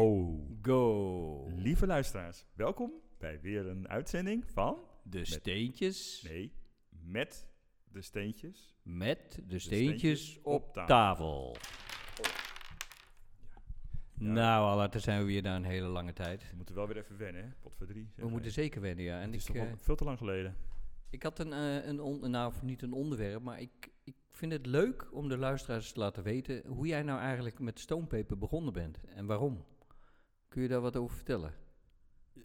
Go! Go. Lieve luisteraars, welkom bij weer een uitzending van... De steentjes met, Nee, met de steentjes. de steentjes, steentjes op op tafel. Oh. tafel. Nou, Allah, daar zijn we weer na een hele lange tijd. We moeten wel weer even wennen, hè? Potverdrie. We moeten zeker wennen, ja. En Het is ik, toch al eh, veel te lang geleden. ik had een, eh, een on- nou, of niet een onderwerp, maar ik, ik vind het leuk om de luisteraars te laten weten hoe jij nou eigenlijk met stoompeper begonnen bent en waarom. Kun je daar wat over vertellen? Eh,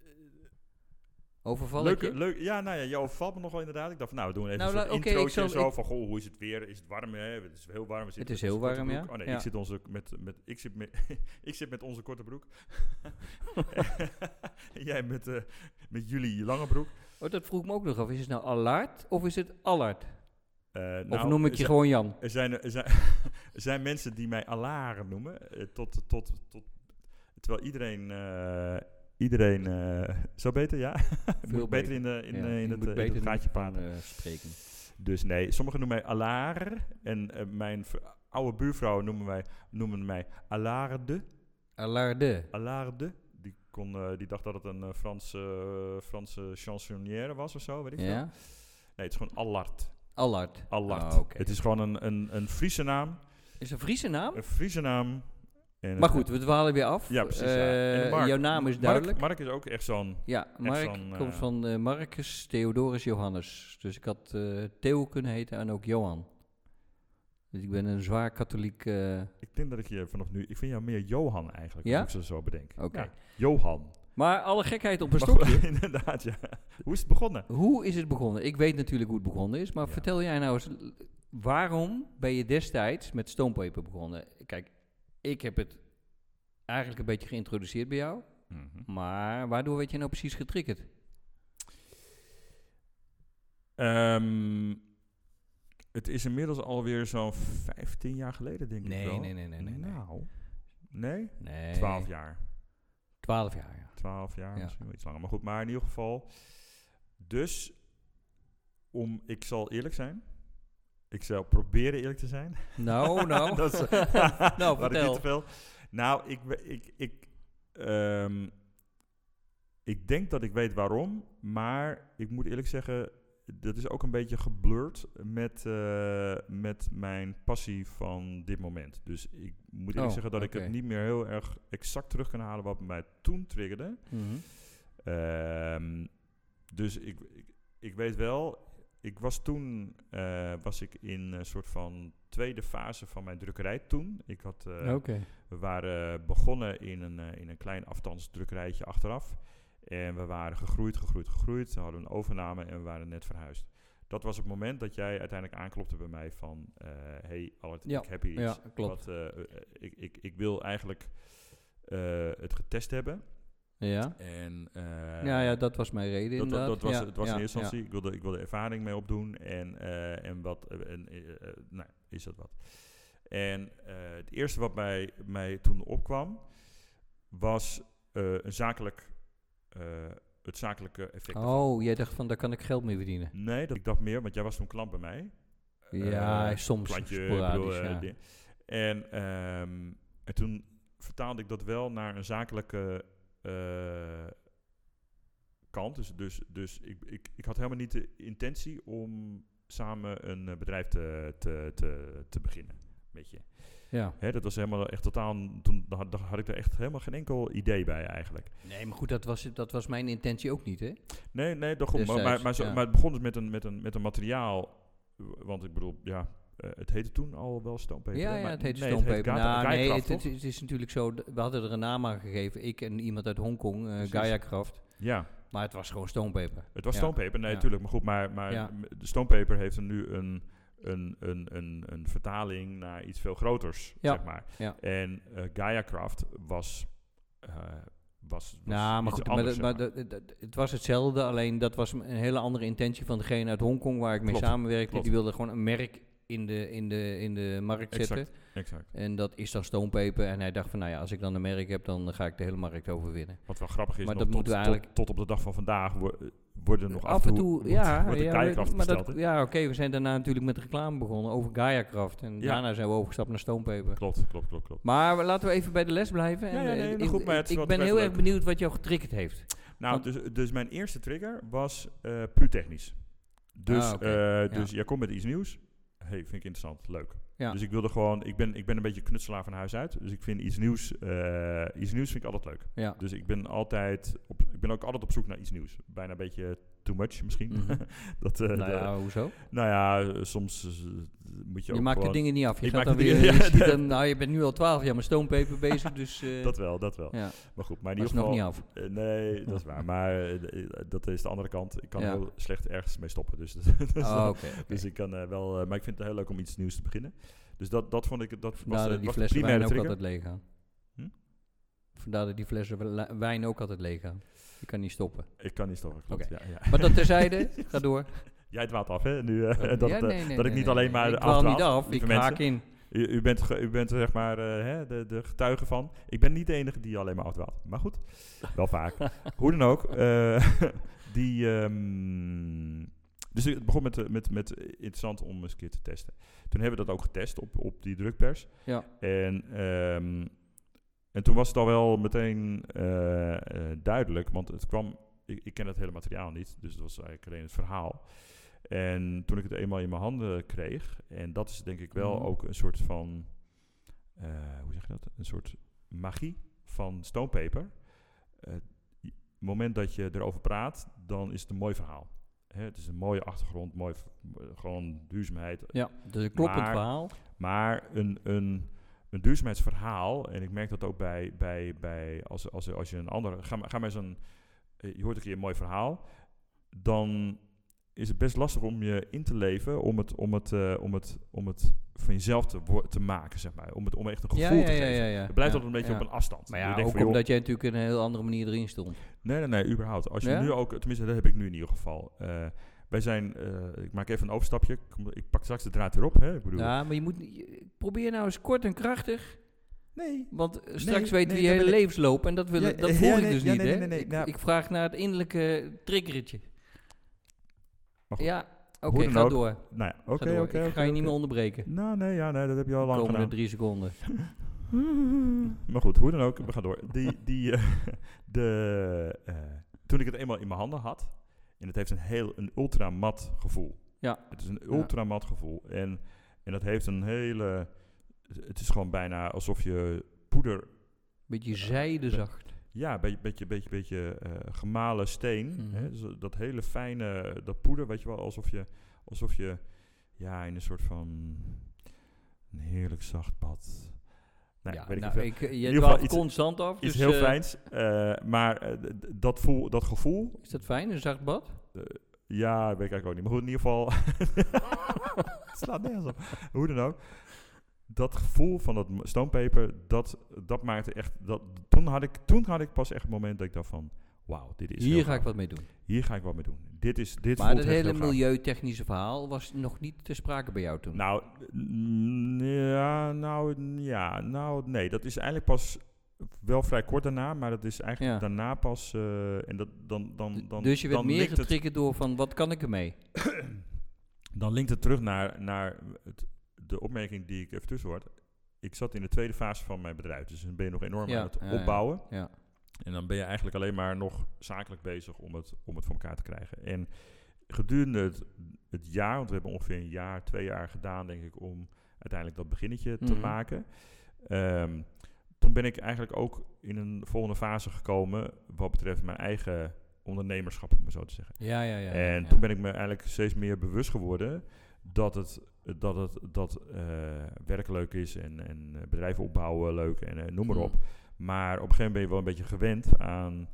Overval ik Leuk, je? leuk, ja, nou ja, jou valt me nog wel inderdaad. Ik dacht van, nou, we doen even Nou, een la- soort oké, ik introotje zal- en zo. ik- Van, goh, hoe is het weer? Is het warm, hè? Het is heel warm. We zitten Het is met heel onze korte warm, ja. broek. Oh nee, Ja. ik zit, onze, met, met, ik, zit met, ik zit met onze korte broek. En Jij met, eh, met jullie lange broek. Oh, dat vroeg ik me ook nog af. Is het nou Allard of is het Allard? Eh, of nou, noem ik er je zijn- gewoon Jan? Er zijn, er zijn, er zijn mensen die mij Alaren noemen. eh, tot, tot, tot, terwijl iedereen... eh, iedereen eh, zo beter, ja. Moet ik beter beter. in, de, in, Ja, eh, in je het, moet eh, in het beter gaatje praten. eh, spreken. Dus nee, sommigen noemen mij Alaar. En eh, mijn v- oude buurvrouwen noemen mij, noemen mij Alarde. Allarde. Alarde. Die, kon, eh, die dacht dat het een eh, Franse, eh, Franse chansonnière was of zo, weet ik veel. Ja? Nee, het is gewoon Allard. Allard. Allard. Ah, oké. Het is gewoon een, een, een Friese naam. Is een Friese naam? Een Friese naam. En Eh, Maar het- goed, we dwalen weer af. Ja, precies. ja. Eh, En Mark- jouw naam is Mark- duidelijk. Mark, is ook echt zo'n... ja, Mark van, eh, komt van eh, Marcus Theodorus Johannes. Dus ik had eh, Theo kunnen heten en ook Johan. Dus ik ben een zwaar katholiek... eh, Ik denk dat ik je vanaf nu... Ik vind jou meer Johan eigenlijk, Ja? als ik ze zo bedenk. Oké. Ja, Johan. maar alle gekheid op een Maar stokje. goed, Inderdaad, ja. Hoe is het begonnen? Hoe is het begonnen? Ik weet natuurlijk hoe het begonnen is, maar Ja. vertel jij nou eens, waarom ben je destijds met stoompeper begonnen? Kijk, ik heb het eigenlijk een beetje geïntroduceerd bij jou, Mhm. maar waardoor werd je nou precies getriggerd? Ehm, het is inmiddels alweer zo'n 15 jaar geleden, denk ik Nee, wel. nee, nee, nee, nee, nee. Nou, nee? Nee. 12 jaar. 12 jaar, ja. 12 jaar, Ja. misschien wel iets langer. Maar goed, maar in ieder geval. Dus, om, ik zal eerlijk zijn. Ik zal proberen eerlijk te zijn. Nou, nou. Dat is- nou, Laat ik niet vertel. te veel. Nou, ik, we- ik, ik, ehm, ik denk dat ik weet waarom, maar ik moet eerlijk zeggen, dat is ook een beetje geblurred met, eh, met mijn passie van dit moment. Dus ik moet eerlijk Oh, zeggen dat ik oké. het niet meer heel erg exact terug kan halen wat mij toen triggerde. Mhm. Ehm, dus ik, ik, ik weet wel, ik was toen eh, was ik in een soort van tweede fase van mijn drukkerij toen. Ik had, eh, Oké. We waren begonnen in een, eh, in een klein afstands drukkerijtje achteraf. En we waren gegroeid, gegroeid, gegroeid. We hadden een overname en we waren net verhuisd. Dat was het moment dat jij uiteindelijk aanklopte bij mij van... eh hey Albert, Ja, ik heb hier iets. Ja, klopt. Wat, eh, eh, ik, ik, ik wil eigenlijk eh, het getest hebben. Ja. En, eh, ja, ja, dat was mijn reden dat, dat, inderdaad. dat was, Ja, het was ja, in eerste instantie, ik, wilde, ik wilde ervaring mee opdoen en, eh, en wat, eh, en, eh, eh, nou, is dat wat. En eh, het eerste wat bij mij toen opkwam, was eh, een zakelijk, eh, het zakelijke effect. ja. Oh, jij dacht van, daar kan ik geld mee verdienen. Nee, dat, ik dacht meer, want jij was toen klant bij mij. ja, Eh, soms Klantje, sporadisch, bedoel, eh, ja. ding. En, ehm, en toen vertaalde ik dat wel naar een zakelijke eh, kant. Dus, dus, dus ik, ik, ik had helemaal niet de intentie om samen een eh, bedrijf te, te, te, te beginnen. Met je. ja. Hè, dat was helemaal echt totaal. Toen had, had ik er echt helemaal geen enkel idee bij eigenlijk. Nee, maar goed, dat was, dat was mijn intentie ook niet, hè? Nee, nee, dat goed, maar, Destijds, maar, maar, zo- ja. maar het begon dus met een, met, een, met een materiaal. Want ik bedoel, ja, eh, het heette toen al wel stoompeper. ja, hè? ja, Maar het heet nee, stoompeper. Het heet Gaia- Nou, nee, Gaiakraft, het, het, toch? het is natuurlijk zo, d- we hadden er een naam aan gegeven, ik en iemand uit Hongkong, eh Precies. Gaia Kraft. Ja, Maar het was gewoon stoompeper. het was Ja. stoompeper. Nee, Ja. natuurlijk. Maar goed, maar, maar Ja. m- de stoompeper heeft er nu een, een, een, een, een vertaling naar iets veel groters, Ja. zeg maar. Ja. En eh Gaia Craft was... eh, was, was Nou, maar iets goed, maar, anders, dat- zeg maar dat- dat- het was hetzelfde, alleen dat was een hele andere intentie van degene uit Hongkong waar ik mee Klopt, samenwerkte. klopt. Die wilde gewoon een merk in de, in de, in de markt zetten. Exact. Exact. En dat is dan stoompeper. En hij dacht van, nou ja, als ik dan een merk heb, dan ga ik de hele markt overwinnen. Wat wel grappig is, Maar nog dat tot, moeten we tot- eigenlijk- tot, op de dag van vandaag wo- eh, worden nog af en toe, wordt- ja, wordt de ja, kaaikracht we- maar besteld, dat, hè? ja, oké, we zijn daarna natuurlijk met reclame begonnen over Gaia-kracht Ja. en daarna zijn we overgestapt naar stoompeper. Klopt, klopt, klopt, klopt. Maar we- laten we even bij de les blijven. En, Ja, ja, nee, eh, nou goed, ik, maar het is ik wel- ben het is heel wel erg leuk. benieuwd wat jou getriggerd heeft. Nou, Want- dus, dus mijn eerste trigger was eh, puur technisch. Dus, Ah, oké, eh, ja. dus jij komt met iets nieuws. hey, vind ik interessant, leuk. Ja. Dus ik wilde gewoon, ik ben, ik ben een beetje knutselaar van huis uit. Dus ik vind iets nieuws, eh, iets nieuws vind ik altijd leuk. Ja. Dus ik ben altijd, op, ik ben ook altijd op zoek naar iets nieuws. Bijna een beetje too much misschien. Mhm. dat, eh, de- nou ja, hoezo? nou ja, eh, soms eh, moet je, Je ook maakt de gewoon- dingen niet af. Je Ik gaat maak dan de weer, dingen- je ja, ziet dat- dan, nou, je bent nu al 12 jaar met stoompeper bezig, dus eh Dat wel, dat wel. ja, maar Maar goed, maar in is ieder nog geval... niet af. Eh, nee, dat is waar. Maar eh, eh, dat is de andere kant. Ik kan Ja. heel slecht ergens mee stoppen. Dus, dat- dat is Oh, dan- oké. oké. dus ik kan eh, wel... eh, maar ik vind het heel leuk om iets nieuws te beginnen. Dus dat, dat vond ik... Dat was, Vandaar de- dat Nou, die was de flessen wijn primaire ook trigger. altijd leeg gaan. Hm? Vandaar dat die flessen wel- wijn ook altijd leeg gaan. Je kan niet stoppen. Ik kan niet stoppen, klopt. Ja, ja. Maar dat terzijde, ga door. Jij dwaalt af, hè? Nu, eh, dat, Ja, eh, nee, nee, dat ik niet nee, nee, alleen maar nee. Ik afdwaal, dwaal niet af, ik lieve haak mensen. in. U, u bent, ge- u bent zeg maar eh, hè, de, de getuige van. Ik ben niet de enige die alleen maar afdwaalt. Maar goed, wel vaak. Hoe dan ook. eh, die, ehm, dus het begon met, eh, met, met interessant om eens een keer te testen. Toen hebben we dat ook getest op, op die drukpers. Ja. En, ehm, en toen was het al wel meteen eh, eh, duidelijk. Want het kwam... Ik, ik ken het hele materiaal niet. Dus het was eigenlijk alleen het verhaal. En toen ik het eenmaal in mijn handen kreeg... En dat is denk ik wel Mhm. ook een soort van... eh, hoe zeg je dat? Een soort magie van stoompeper. Eh, i- het moment dat je erover praat, dan is het een mooi verhaal. Hè, het is een mooie achtergrond, mooi, v- gewoon duurzaamheid. Ja, dus een kloppend Maar- verhaal. Maar een, een, een duurzaamheidsverhaal, en ik merk dat ook bij, bij, bij als, als, als je een ander, ga, maar- ga maar eens een, eh, je hoort een keer een mooi verhaal, dan is het best lastig om je in te leven, om het, om het, eh, om het, om het van jezelf te, wo- te maken, zeg maar. Om het om echt een gevoel te geven. ja. Het blijft Ja, altijd een beetje ja. op een afstand. Maar Je ja, denkt ook van, joh, omdat jij natuurlijk een heel andere manier erin stond. Nee, nee, nee, überhaupt. Als je Ja? nu ook, tenminste, dat heb ik nu in ieder geval. Eh, wij zijn, eh, ik maak even een overstapje. Ik, kom- ik pak straks de draad weer op, hè? Ik bedoel, Ja, maar je moet... niet- je- probeer nou eens kort en krachtig, nee. want eh, Nee, straks weten we nee, je dat hele wil ik- levensloop en dat, wil, Ja, ik- dat ja, voel ik nee, dus ja, niet, nee, hè? nee, nee, ik, nou- ik vraag naar het innerlijke triggeretje. Maar goed. Ja, oké, Hoe dan ga ook. door. Nou ja, Ga oké, door. oké. ik ga oké, je niet oké. meer onderbreken. Nou, nee, ja, nee, dat heb je al De lang komende gedaan. drie seconden. Maar goed, hoe dan ook, we gaan door. Die, die, eh, de, eh, toen ik het eenmaal in mijn handen had, en het heeft een heel een ultra mat gevoel. Ja. Het is een ultra mat gevoel. En, en dat heeft een hele. Het is gewoon bijna alsof je poeder Beetje zijdezacht. Ja, beetje, beetje, beetje, beetje eh, gemalen steen. Mhm. Hè? Dus dat hele fijne, dat poeder, weet je wel, alsof je, alsof je ja, in een soort van een heerlijk zacht bad. Nee, ja, weet ik nou, niet ik, je ieder geval dwaalt iets- constant af. Iets dus, heel eh, fijns, eh, maar eh, d- d- dat, voel, dat gevoel, Is dat fijn, een zacht bad? ja, dat weet ik eigenlijk ook niet. Maar goed, in ieder geval, het slaat nergens op. Hoe dan ook. Dat gevoel van dat m- stoompeper, dat, dat maakte echt, dat, toen, had ik, toen had ik pas echt het moment dat ik dacht van, wauw, dit is heel Hier ga gaaf. ik wat mee doen. hier ga ik wat mee doen. Dit is dit Maar voelt dat echt hele heel gaaf. milieutechnische verhaal was nog niet te sprake bij jou toen. Nou, mm, ja, nou, mm, ja, nou, nee, dat is eigenlijk pas wel vrij kort daarna, maar dat is eigenlijk Ja. daarna pas eh, en dat dan dan D- dan dus je werd dan meer linkt het- getriggerd door van wat kan ik ermee? dan linkt het terug naar naar het, de opmerking die ik even tussen hoort. Ik zat in de tweede fase van mijn bedrijf, dus dan ben je nog enorm Ja, aan het ja, ja. opbouwen. Ja. En dan ben je eigenlijk alleen maar nog zakelijk bezig om het, om het voor elkaar te krijgen. En gedurende het, het jaar, want we hebben ongeveer een jaar, twee jaar gedaan, denk ik, om uiteindelijk dat beginnetje te Mhm. maken. Ehm, toen ben ik eigenlijk ook in een volgende fase gekomen wat betreft mijn eigen ondernemerschap, om het zo te zeggen. Ja, ja, ja. en toen ben ik me eigenlijk steeds meer bewust geworden dat het, dat het dat, eh, werk leuk is en, en eh, bedrijven opbouwen leuk en eh, noem maar Mm. op. Maar op een gegeven moment ben je wel een beetje gewend aan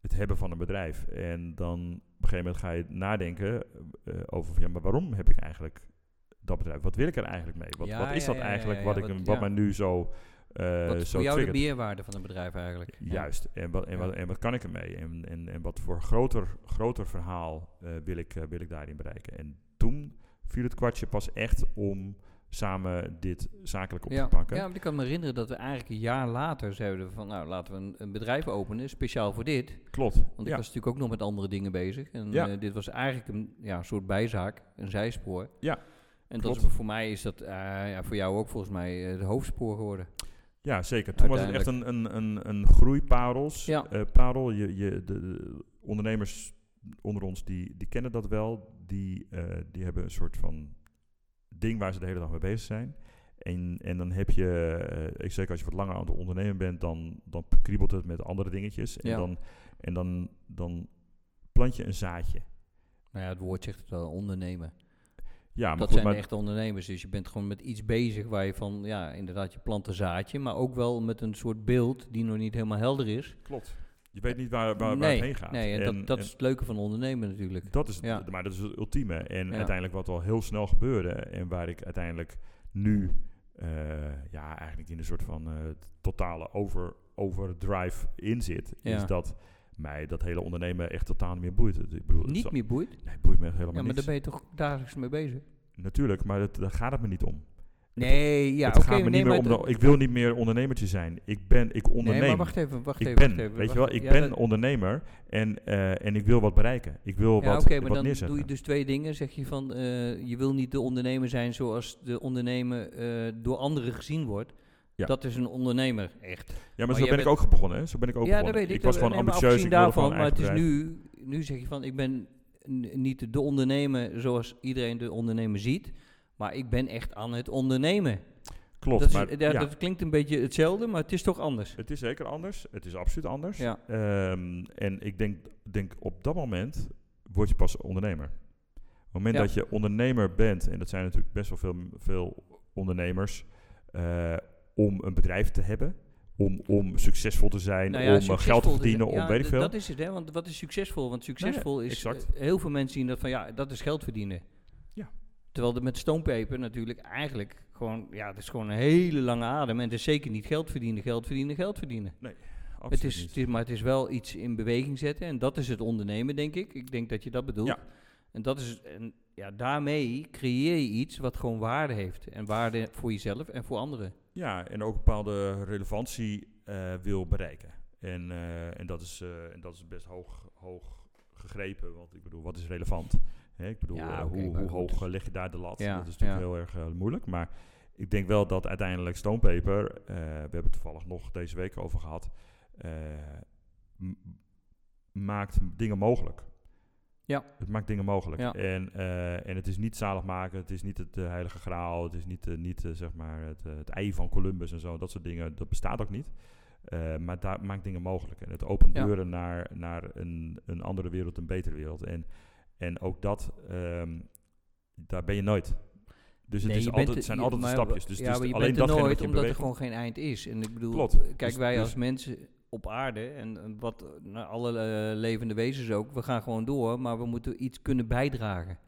het hebben van een bedrijf. En dan op een gegeven moment ga je nadenken eh, over van ja, maar waarom heb ik eigenlijk dat bedrijf? Wat wil ik er eigenlijk mee? Wat, Ja, wat is ja, dat ja, ja, eigenlijk ja, wat, wat- ik, wat ja. mij nu zo, eh Wat is zo voor jou triggert? de meerwaarde van een bedrijf eigenlijk? Ja. Juist. En wat, en, Ja. wat, en wat kan ik ermee? En, en, en wat voor groter, groter verhaal eh, wil, ik, eh, wil ik daarin bereiken? En toen viel het kwartje pas echt om samen dit zakelijk op ja. te pakken. Ja, want ik kan me herinneren dat we eigenlijk een jaar later zeiden we van... nou, laten we een, een bedrijf openen, speciaal voor dit. Klopt. Want ik ja. was natuurlijk ook nog met andere dingen bezig. En Ja. eh, dit was eigenlijk een ja, soort bijzaak, een zijspoor. Ja, En dat klopt. is, voor mij is dat, eh, ja, voor jou ook volgens mij, eh, het hoofdspoor geworden. Ja, zeker. Toen was het echt een, een, een, een groeiparels. Ja. Eh, parel, je, je, de, de ondernemers onder ons die, die kennen dat wel. Die, eh, die hebben een soort van ding waar ze de hele dag mee bezig zijn. En, en dan heb je, eh, ik zeker als je wat langer aan het ondernemen bent, dan, dan kriebelt het met andere dingetjes. En, Ja. dan, en dan, dan plant je een zaadje. Nou ja, het woord zegt het wel, ondernemen. Ja, maar dat goed, zijn maar de echte ondernemers. Dus je bent gewoon met iets bezig waar je van, ja, inderdaad, je plant een zaadje. Maar ook wel met een soort beeld die nog niet helemaal helder is. klopt. Je weet niet waar, waar, waar nee, het heen gaat. Nee, en, dat, dat en- is het leuke van ondernemen natuurlijk. Dat is het, Ja. maar dat is het ultieme. En Ja. uiteindelijk wat al heel snel gebeurde en waar ik uiteindelijk nu eh, ja, eigenlijk in een soort van eh, totale over, overdrive in zit, Ja. is dat mij dat hele ondernemen echt totaal niet meer boeit. Het- Ik bedoel, het niet zal- meer boeit. Ja, Nee, het boeit me echt helemaal maar niet. daar ben je toch dagelijks mee bezig? Natuurlijk, maar dat, daar gaat het me niet om. Nee, ja, het oké. gaat me nee, niet meer maar om. het- dat- ik wil niet meer ondernemertje zijn. Ik ben, ik onderneem. Nee, maar wacht even, wacht ik even. ben, wacht even, weet wacht je wel, even. ik Ja, ben dat- ondernemer en, eh, en ik wil wat bereiken. Ik wil Ja, wat, oké, maar wat dan neerzetten. doe je dus twee dingen. Zeg je van, eh, je wil niet de ondernemer zijn zoals de ondernemer eh, door anderen gezien wordt. Ja. Dat is een ondernemer, echt. Ja, maar, Maar zo jij ben ik ook begonnen, hè? Zo ben ik ook ja, dat begonnen. weet ik. ik was dat- gewoon nee, maar ambitieus, ik afgezien wilde daarvan, gewoon maar het is nu... nu, nu zeg je van, ik ben n- niet de ondernemer zoals iedereen de ondernemer ziet. Maar ik ben echt aan het ondernemen. Klopt, dat, is- maar ja, ja, dat klinkt een beetje hetzelfde, maar het is toch anders. het is zeker anders. Het is absoluut anders. Ja. Ehm, en ik denk, denk op dat moment word je pas ondernemer. Op het moment Ja. dat je ondernemer bent, en dat zijn natuurlijk best wel veel, veel ondernemers, eh, om een bedrijf te hebben, om, om succesvol te zijn, Nou om eh, succesvol geld te dus- verdienen, om ja, weet ik d- veel. Nou Dat is het, hè? Want wat is succesvol? Want succesvol is exact. eh, heel veel mensen zien dat van ja, dat is geld verdienen. Ja. Terwijl er met stoompeper natuurlijk eigenlijk gewoon, ja, het is gewoon een hele lange adem. En het is zeker niet geld verdienen, geld verdienen, geld verdienen. Absoluut Het is, niet. het is- maar het is wel iets in beweging zetten. En dat is het ondernemen, denk ik. Ik denk dat je dat bedoelt. Ja. En dat is, en ja, daarmee creëer je iets wat gewoon waarde heeft. En waarde voor jezelf en voor anderen. Ja, en ook een bepaalde relevantie eh, wil bereiken. En, eh, en, dat is, eh, en dat is best hoog, hoog gegrepen, want ik bedoel, wat is relevant? Hè, ik bedoel, Ja, eh, oké, hoe, maar hoe goed. hoog eh, leg je daar de lat? Ja, dat is natuurlijk ja. heel erg eh, moeilijk, maar ik denk wel dat uiteindelijk Stonepaper, eh, we hebben het toevallig nog deze week over gehad, eh, m- maakt dingen mogelijk. Ja. Het maakt dingen mogelijk. Ja. En, eh, en het is niet zalig maken, het is niet het eh, heilige graal, het is niet, eh, niet eh, zeg maar het, eh, het ei van Columbus en zo, dat soort dingen, dat bestaat ook niet. Eh, maar dat maakt dingen mogelijk. En het opent Ja. deuren naar, naar een, een andere wereld, een betere wereld. En, en ook dat, ehm, daar ben je nooit. Dus het, Nee, is je bent altijd, er- het zijn je- altijd maar- stapjes. Dus ja, het maar is je alleen bent er datgene nooit wat je omdat er beweegt. gewoon geen eind is. En ik bedoel, Klopt. kijk, Dus- wij dus- als mensen op aarde en en wat nou, alle eh, levende wezens ook, we gaan gewoon door, maar we moeten iets kunnen bijdragen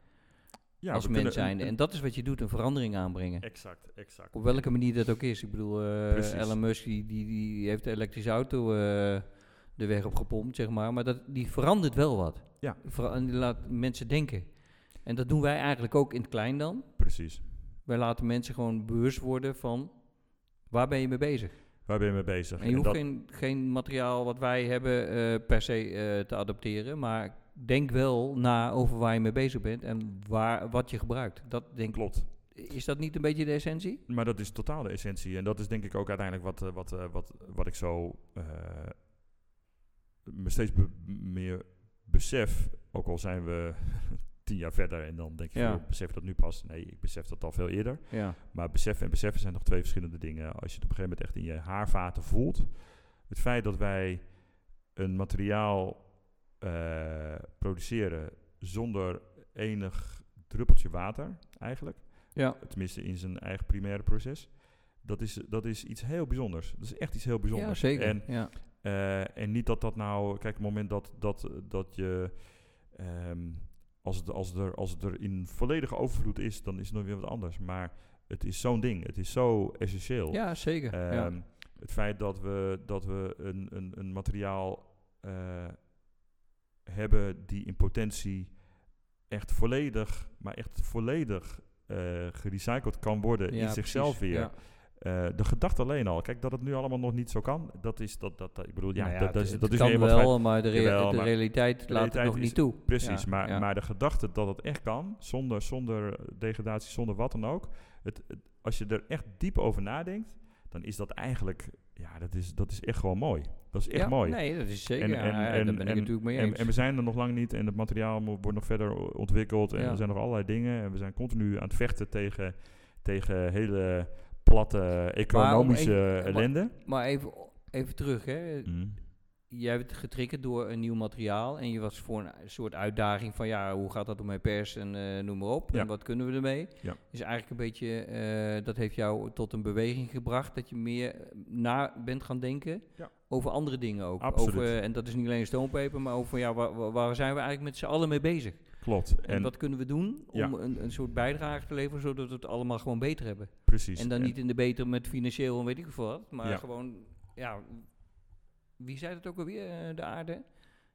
Ja, als we kunnen mens een- zijnde. En dat is wat je doet, een verandering aanbrengen. Exact, exact. Op welke manier dat ook is. Ik bedoel, eh, Precies. Elon Musk die, die, die heeft de elektrische auto eh, de weg op gepompt, zeg maar. Maar dat, die verandert wel wat. Ja. Vera- en die laat mensen denken. En dat doen wij eigenlijk ook in het klein dan. Precies. Wij laten mensen gewoon bewust worden van waar ben je mee bezig. Waar ben je mee bezig? En je hoeft dat- geen, geen materiaal wat wij hebben eh, per se eh, te adopteren, maar denk wel na over waar je mee bezig bent en waar, wat je gebruikt. Dat denk, ik- Klopt. is dat niet een beetje de essentie? Maar dat is totaal de essentie. En dat is denk ik ook uiteindelijk wat, eh, wat, eh, wat, wat ik zo eh, me steeds be- meer besef. Ook al zijn we tien jaar verder en dan denk je, Ja. joh, besef je dat nu pas? Nee, ik besef dat al veel eerder. Ja. Maar beseffen en beseffen zijn nog twee verschillende dingen. Als je het op een gegeven moment echt in je haarvaten voelt. Het feit dat wij een materiaal eh, produceren zonder enig druppeltje water eigenlijk. Ja. Tenminste in zijn eigen primaire proces. Dat is, dat is iets heel bijzonders. Dat is echt iets heel bijzonders. Ja, zeker. En, ja. eh, en niet dat dat nou... Kijk, het moment dat, dat, dat je... ehm, als, het, als, het er, als het er in volledige overvloed is, dan is het nog weer wat anders. Maar het is zo'n ding. Het is zo essentieel. ja, zeker. ja. Ehm, Het feit dat we, dat we een, een, een materiaal eh, hebben die in potentie echt volledig, maar echt volledig eh, eh, gerecycled kan worden in eh, zichzelf weer. Ja. Eh, de gedachte alleen al. Kijk, dat het nu allemaal nog niet zo kan, dat is dat, dat, dat- ik bedoel, ja, Nou dat, dat het- is, het dat is kan nu eenmaal vrij- wel, maar de, rea- Jawel, de maar realiteit laat realiteit het nog is- niet toe. Precies, Ja, maar, ja. maar de gedachte dat het echt kan, zonder, zonder degradatie, zonder wat dan ook. Het, het- als je er echt diep over nadenkt, dan is dat eigenlijk, ja, dat is, dat is echt gewoon mooi. Dat is echt Ja, mooi. Nee, dat is zeker. En- Ja, en- ja, en- daar ben ik en- het natuurlijk mee En, eens. en we zijn er nog lang niet en het materiaal mo- wordt nog verder o- ontwikkeld. En Ja. er zijn nog allerlei dingen. En we zijn continu aan het vechten tegen, tegen hele platte economische maar- ellende. maar even, even terug, hè. Mm. Jij werd getriggerd door een nieuw materiaal en je was voor een soort uitdaging van ja, hoe gaat dat om mijn pers en eh, noem maar op Ja. en wat kunnen we ermee? Ja. Is eigenlijk een beetje, eh, dat heeft jou tot een beweging gebracht dat je meer eh, na bent gaan denken Ja. over andere dingen ook. Absoluut. Over, eh, en dat is niet alleen stoompeper, maar over ja, waar, waar- waar zijn we eigenlijk met z'n allen mee bezig? Klopt. En, En, wat kunnen we doen om Ja. een, een soort bijdrage te leveren zodat we het allemaal gewoon beter hebben? precies. En dan niet in de beter met financieel en weet ik veel wat. Maar Ja. gewoon, ja. Wie zei dat ook alweer? Eh, De aarde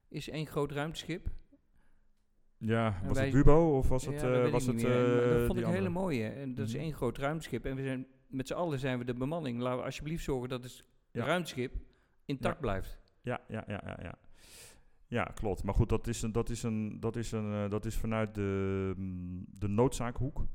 is één groot ruimteschip. Ja, En was wij- het Bubo of was Ja, het... dat eh, weet ik was niet het meer. Maar eh, dat vond die ik een hele andere? mooie. En dat is Mhm. één groot ruimteschip. En we zijn met z'n allen zijn we de bemanning. Laten we alsjeblieft zorgen dat het Ja. ruimteschip intact blijft. Ja, ja, ja, ja, ja. Ja, klopt. Maar goed, dat is, een, dat is, een, dat is, een, eh, dat is vanuit de, mm, de noodzaakhoek.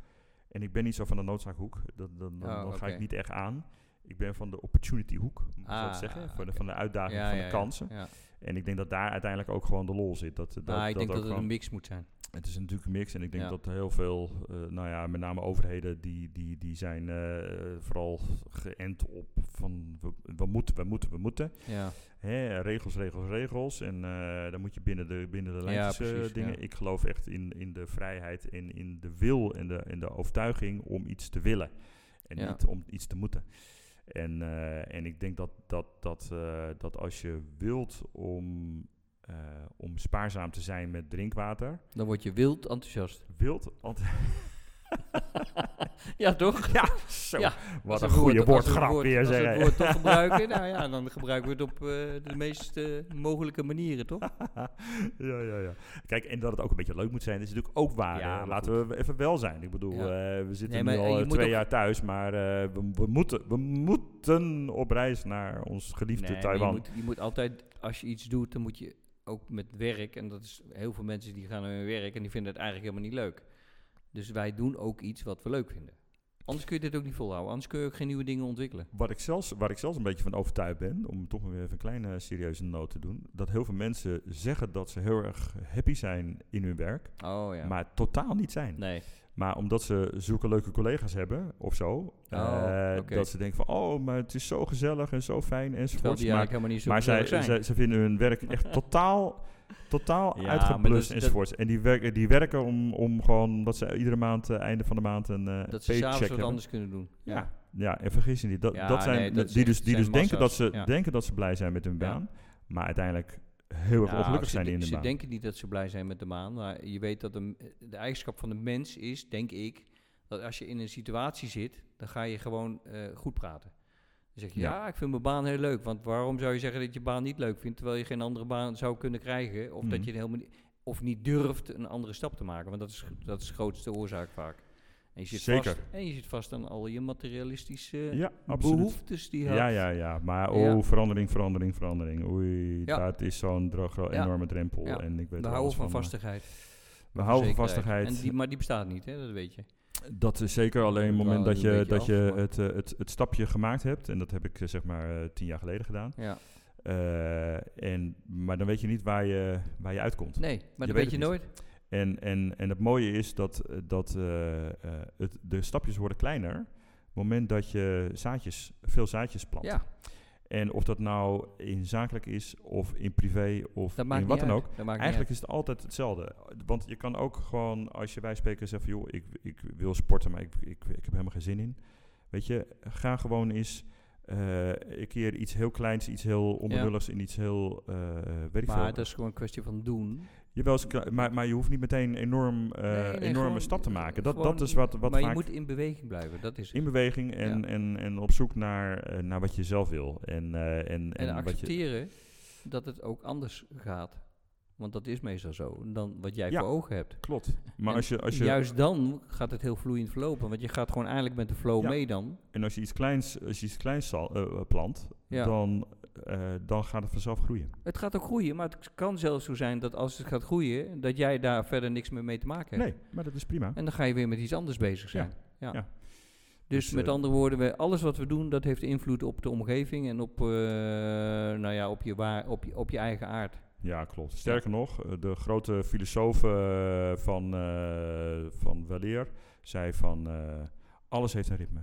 En ik ben niet zo van de noodzaakhoek. Dat, dan dan, Oh, dan ga oké. ik niet echt aan. Ik ben van de opportunityhoek, moet ik Ah, dat zeggen. Van de, oké. van de uitdaging, Ja, van ja, de ja. kansen. Ja. En ik denk dat daar uiteindelijk ook gewoon de lol zit. Dat, dat, maar Nou, ik dat denk ook dat het gewoon- een mix moet zijn. het is natuurlijk een mix en ik denk Ja. dat heel veel, eh, nou ja, met name overheden, die, die, die zijn eh, vooral geënt op van we, we moeten, we moeten, we moeten. Ja. Hè, regels, regels, regels. En eh, dan moet je binnen de, binnen de lijntjes eh, precies, dingen. ja. Ik geloof echt in, in de vrijheid en in de wil en de, en de overtuiging om iets te willen. En Ja. niet om iets te moeten. En, eh, en ik denk dat, dat, dat, eh, dat als je wilt om, eh, om spaarzaam te zijn met drinkwater, Dan word je wild enthousiast. wilt... ant- Ja, toch? Ja, zo. Ja, Wat Als een het goede woord- als woordgrap het woord- weer, Als we zeg. het hè. woord toch gebruiken, nou ja, dan gebruiken we het op eh, de meest eh, mogelijke manieren, toch? ja, ja, ja. Kijk, en dat het ook een beetje leuk moet zijn, is natuurlijk ook waar. Ja, hè. maar Laten we even wel zijn. Ik bedoel, Ja. eh, we Nee, zitten maar, nu eh, al je eh, moet twee ook- jaar thuis, maar eh, we, we moeten, we moeten op reis naar ons geliefde Nee, maar Taiwan. Je moet, je moet altijd, als je iets doet, dan moet je ook met werk. En dat is heel veel mensen die gaan naar hun werk en die vinden het eigenlijk helemaal niet leuk. Dus wij doen ook iets wat we leuk vinden. Anders kun je dit ook niet volhouden. Anders kun je ook geen nieuwe dingen ontwikkelen. Wat ik zelfs, waar ik zelfs een beetje van overtuigd ben, om toch weer even een kleine serieuze noot te doen, dat heel veel mensen zeggen dat ze heel erg happy zijn in hun werk, Oh ja. maar totaal niet zijn. nee. Maar omdat ze zulke leuke collega's hebben of zo, eh, Oh, oké. dat ze denken van, oh, maar het is zo gezellig en zo fijn Terwijl enzovoorts. die Maar, eigenlijk helemaal niet zo maar zij, gezellig zijn. zij- ze vinden hun werk echt totaal, totaal Ja, maar dat is- uitgeblust dat- enzovoorts. En die werken, die werken om, om gewoon, dat ze iedere maand, eh, einde van de maand een eh dat ze paycheck s'avonds wat hebben. anders kunnen doen. Ja. ja, en vergis je niet, dat, Ja, dat zijn, nee, dat die is- dus, die zijn dus denken, dat massa's, ze, ja. denken dat ze blij zijn met hun Ja. baan, maar uiteindelijk heel erg Nou, ongelukkig ze zijn de- in de Ze baan. denken niet dat ze blij zijn met de maan. Maar je weet dat de, de eigenschap van de mens is, denk ik, dat als je in een situatie zit, dan ga je gewoon eh, goed praten. Dan zeg je, ja. Ja. ik vind mijn baan heel leuk. Want waarom zou je zeggen dat je baan niet leuk vindt, terwijl je geen andere baan zou kunnen krijgen? Of dat Mhm. je helemaal niet, of niet durft een andere stap te maken. Want dat is, dat is de grootste oorzaak vaak. En je zit, Zeker. Vast, en je zit vast aan al je materialistische ja, absoluut. behoeftes die je Ja, had. ja, ja. Maar oh, Ja. verandering, verandering, verandering. Oei, Ja. dat is zo'n dro- gro- Ja. enorme drempel. Ja. En ik weet We er houden alles van maar vastigheid. We houden van Zekerheid. vastigheid. En die, maar die bestaat niet, hè? dat weet je. Dat is zeker alleen het Wel moment dat een je, beetje dat af, je maar- het, eh, het, het stapje gemaakt hebt. En dat heb ik eh, zeg maar eh, tien jaar geleden gedaan. Ja. Eh, en, maar dan weet je niet waar je, waar je uitkomt. Nee, maar Je dat weet weet het je nooit. En, en, en het mooie is dat, eh, dat eh, eh, het, de stapjes worden kleiner. Op het moment dat je zaadjes, veel zaadjes plant. Ja, En of dat nou in zakelijk is, of in privé, of dat maakt in wat niet dan uit. ook. Dat maakt niet Eigenlijk is het altijd hetzelfde. Want je kan ook gewoon, als je wij spreken, zeggen van... joh, ik, ik wil sporten, maar ik, ik, ik heb helemaal geen zin in. Weet je, ga gewoon eens eh, een keer iets heel kleins, iets heel onbenulligs... in iets heel, eh, weet uit. ik Maar dus- veel. dat is gewoon een kwestie van doen. Jawel, is kle- maar, maar je hoeft niet meteen enorm, eh, Nee, nee, enorme gewoon- stap te maken. Dat, gewoon- dat is wat, wat maar vaak je moet in beweging blijven, dat is het. in beweging en, Ja. en, en op zoek naar, eh, naar wat je zelf wil. En, eh, en, en, en wat je, accepteren dat het ook anders gaat. Want dat is meestal zo. Dan wat jij Ja. voor ogen hebt. Klopt. Maar En als je, als je, Juist dan gaat het heel vloeiend verlopen. Want je gaat gewoon eigenlijk met de flow Ja. mee dan. en als je iets kleins, als je iets kleins zal- eh, eh, plant, Ja. dan, eh, dan gaat het vanzelf groeien. Het gaat ook groeien, maar het kan zelfs zo zijn dat als het gaat groeien, dat jij daar verder niks meer mee te maken hebt. Nee, maar dat is prima. En dan ga je weer met iets anders bezig zijn. Ja. ja. Dus, Dus, met eh, andere woorden, we, alles wat we doen, dat heeft invloed op de omgeving en op, eh, nou ja, op, je, waar, op, je, op je eigen aard. Ja, klopt. Sterker nog, eh, de grote filosoof eh, van, eh van Weleer zei van... eh, alles heeft een ritme.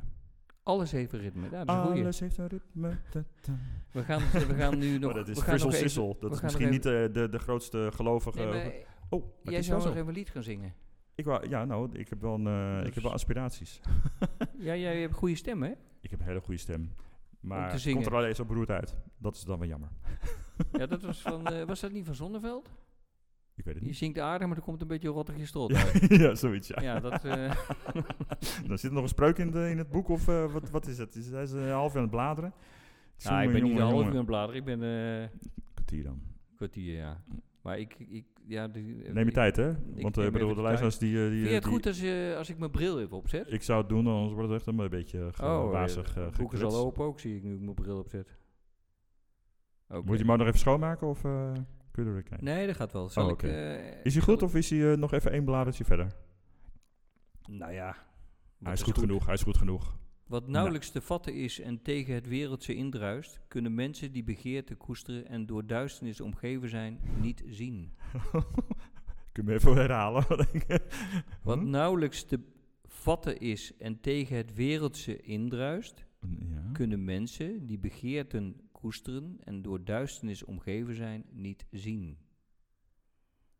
Alles heeft een ritme. Ja, dat is een goeie. Alles heeft een ritme. Ta, ta. We gaan, we gaan nu nog... Maar dat is we gaan Frizzel nog even- Sissel. Dat we is gaan misschien nog niet eh, de, de grootste gelovige... Nee, maar oh, maar het jij is wel zou zo. nog even een lied gaan zingen. Ik wou, ja, nou, ik heb wel, een, eh, ik Dus- heb wel aspiraties. Ja, jij hebt een goede stem, hè? Ik heb een hele goede stem. te Maar het zingen. komt er alleen zo beroerd uit. Dat is dan wel jammer. Ja, dat was van... eh, was dat niet van Zonneveld? Ik weet het Je niet. zingt aardig, maar er komt een beetje rottig strot Ja, uit. ja, zoiets, ja. Ja, dat... eh, Dan zit er nog een spreuk in, de, in het boek, of eh, wat, wat is het? Is, hij is een half aan het bladeren. Nou, ik ben niet een half uur aan het bladeren. Ik ben eh Kwartier dan. kwartier, ja. Maar ik... ik ja, die, Neem je tijd, hè? neem Want eh even bedoel, de de luisteraars die... eh, die, Vind je eh, het die- goed als, je, als ik mijn bril even opzet? Ik zou het doen, anders wordt het echt een beetje Oh, wazig eh, eh, de boek is al geklets. open ook, zie ik nu ik mijn bril opzet. Oké. Moet je hem ook nog even schoonmaken, of eh kun je er weer kijken? Nee, dat gaat wel. Zal Oh, ik, oké. eh, Is hij zal goed, ik- of is hij eh, nog even één bladertje verder? Nou ja. Hij wat is goed, genoeg, Nou. hij is goed genoeg. Wat nauwelijks te vatten is en tegen het wereldse indruist, kunnen mensen die begeerte koesteren en door duisternis omgeven zijn, niet zien. Kun je hem even herhalen? wat ik- Wat Hm? nauwelijks te vatten is en tegen het wereldse indruist, Ja. kunnen mensen die begeerten koesteren en door duisternis omgeven zijn, niet zien.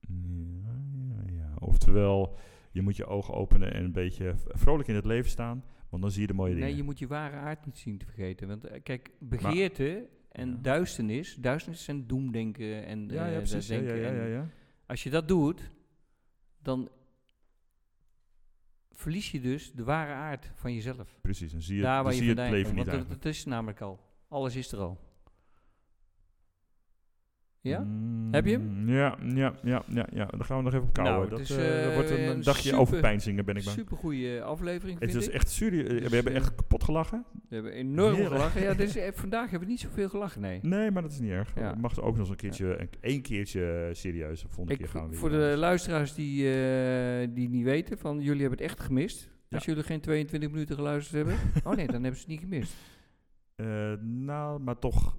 Ja, ja, ja. Oftewel, je moet je ogen openen en een beetje v- vrolijk in het leven staan, want dan zie je de mooie dingen. Nee, je moet je ware aard niet zien te vergeten. Want eh, kijk, begeerte en Ja. duisternis, duisternis zijn doemdenken ja, en eh, ja, dat precies. Ja, ja, denken ja, en- ja, ja. Als je dat doet, dan verlies je dus de ware aard van jezelf. Precies, dan zie je, Daar dan waar je zie je vandaan het komt. leven Want niet dat, eigenlijk. dat is namelijk al. Alles is er al. Ja? Mm, Heb je hem? Ja, ja, ja, ja, ja. Dan gaan we nog even op kouwen. Nou, dat het is, eh, dat wordt een, eh, een dagje super- overpijnzingen, ben ik bang. Super goede aflevering, vind Het is ik. echt serieus. eh, Dus, we hebben eh, echt kapot gelachen. We hebben enorm Heerlijk. gelachen. Ja, dus, eh, vandaag hebben we niet zoveel gelachen, nee. Nee, maar dat is niet erg. Ja. Het Mag ook nog eens een keertje, een- één keertje eh, serieus. De volgende Ik, keer gaan we weer voor de anders. luisteraars die, eh, die niet weten, van jullie hebben het echt gemist. Als jullie geen 22 minuten geluisterd hebben. oh nee, dan hebben ze het niet gemist. Eh, nou, maar toch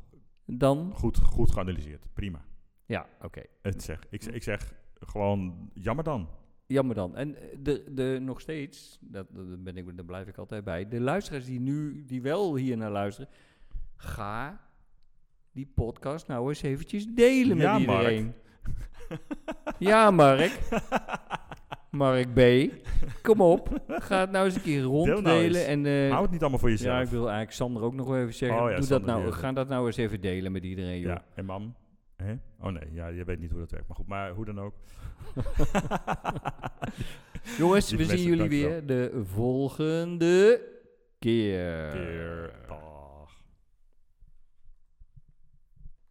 Dan. goed, goed geanalyseerd. Prima. Ja, oké. Het zeg, ik, zeg- ik zeg gewoon jammer dan. Jammer dan. En eh, de, de, nog steeds, dat, dat ben ik, daar blijf ik altijd bij. De luisteraars die nu, die wel hier naar luisteren, ga die podcast nou eens eventjes delen Ja, met Mark. iedereen. Ja, Mark. Mark B. Kom op. Ga het nou eens een keer nou ronddelen. eens. en, eh, Hou het niet allemaal voor jezelf. ja, ik wil eigenlijk Sander ook nog wel even zeggen. Oh ja, Doe dat Sander nou, weer. ga dat nou eens even delen met iedereen, joh. Ja, en mam? Hè? Oh nee, ja, je weet niet hoe dat werkt. Maar goed, maar hoe dan ook. Jongens, we Lieve zien mensen, jullie dankjewel. weer de volgende keer. Keer.